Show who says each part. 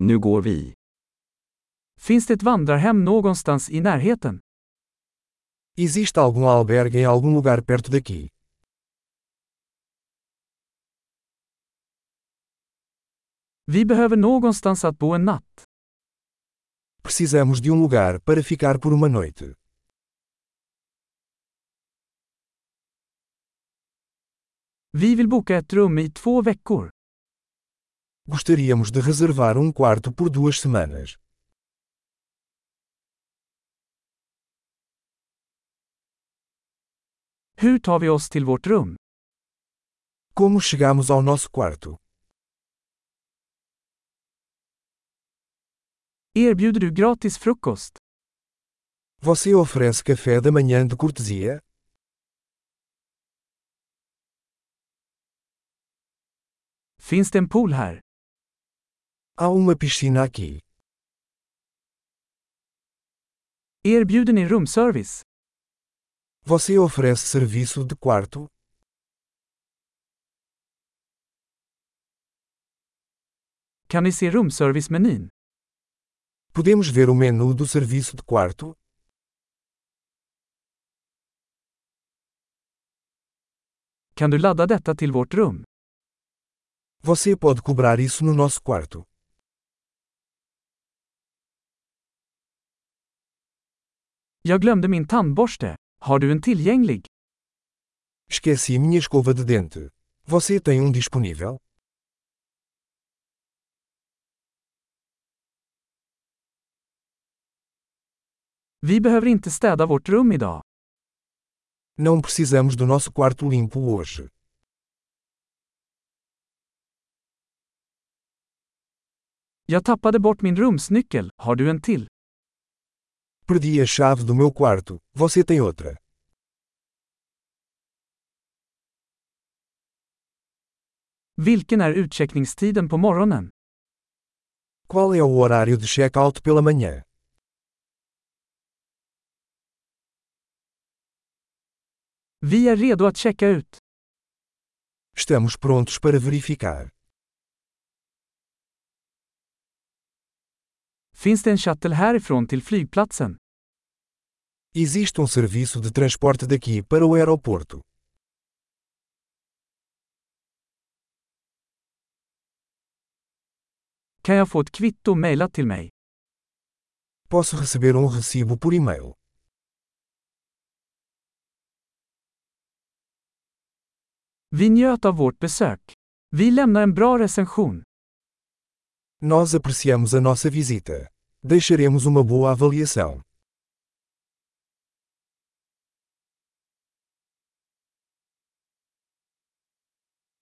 Speaker 1: Nu går vi.
Speaker 2: Finns det ett vandrarhem någonstans i närheten?
Speaker 3: Existe algum albergue em algum lugar perto daqui?
Speaker 2: Vi behöver någonstans att bo en natt.
Speaker 3: Precisamos de um lugar para ficar por uma noite.
Speaker 2: Vi vill boka ett rum i två veckor.
Speaker 3: Gostaríamos de reservar um quarto por duas semanas.
Speaker 2: Hur tar vi oss till vårt rum?
Speaker 3: Como chegamos ao nosso quarto?
Speaker 2: Erbjuder du gratis frukost?
Speaker 3: Você oferece café da manhã de cortesia?
Speaker 2: Finns det en pool här?
Speaker 3: Há uma piscina aqui.
Speaker 2: Erbjuder ni rumservice?
Speaker 3: Você oferece serviço de quarto?
Speaker 2: Kan ni se rumservice-menyn?
Speaker 3: Podemos ver o menu do serviço de quarto?
Speaker 2: Kan du ladda detta till vårt rum?
Speaker 3: Você pode cobrar isso no nosso quarto.
Speaker 2: Jag glömde min tandborste. Har du en tillgänglig?
Speaker 3: Esqueci minha escova de dente. Você tem um disponível?
Speaker 2: Vi behöver inte städa vårt rum idag.
Speaker 3: Não precisamos do nosso quarto limpo hoje.
Speaker 2: Jag tappade bort min rumsnyckel. Har du en till?
Speaker 3: Perdi a chave do meu quarto. Você tem outra?
Speaker 2: Vilken är utcheckningstiden på morgonen?
Speaker 3: Qual é o horário de check-out pela manhã?
Speaker 2: Vi är redo att checka ut.
Speaker 3: Estamos prontos para verificar.
Speaker 2: Finns det en shuttle härifrån till flygplatsen?
Speaker 3: Existe um serviço de transporte daqui para o aeroporto.
Speaker 2: Kan jag få ett kvitto mejlat till mig?
Speaker 3: Posso receber um recibo por e-mail.
Speaker 2: Vi njöt av vårt besök. Vi lämnar en bra recension.
Speaker 3: Nós apreciamos a nossa visita. Deixaremos uma boa avaliação.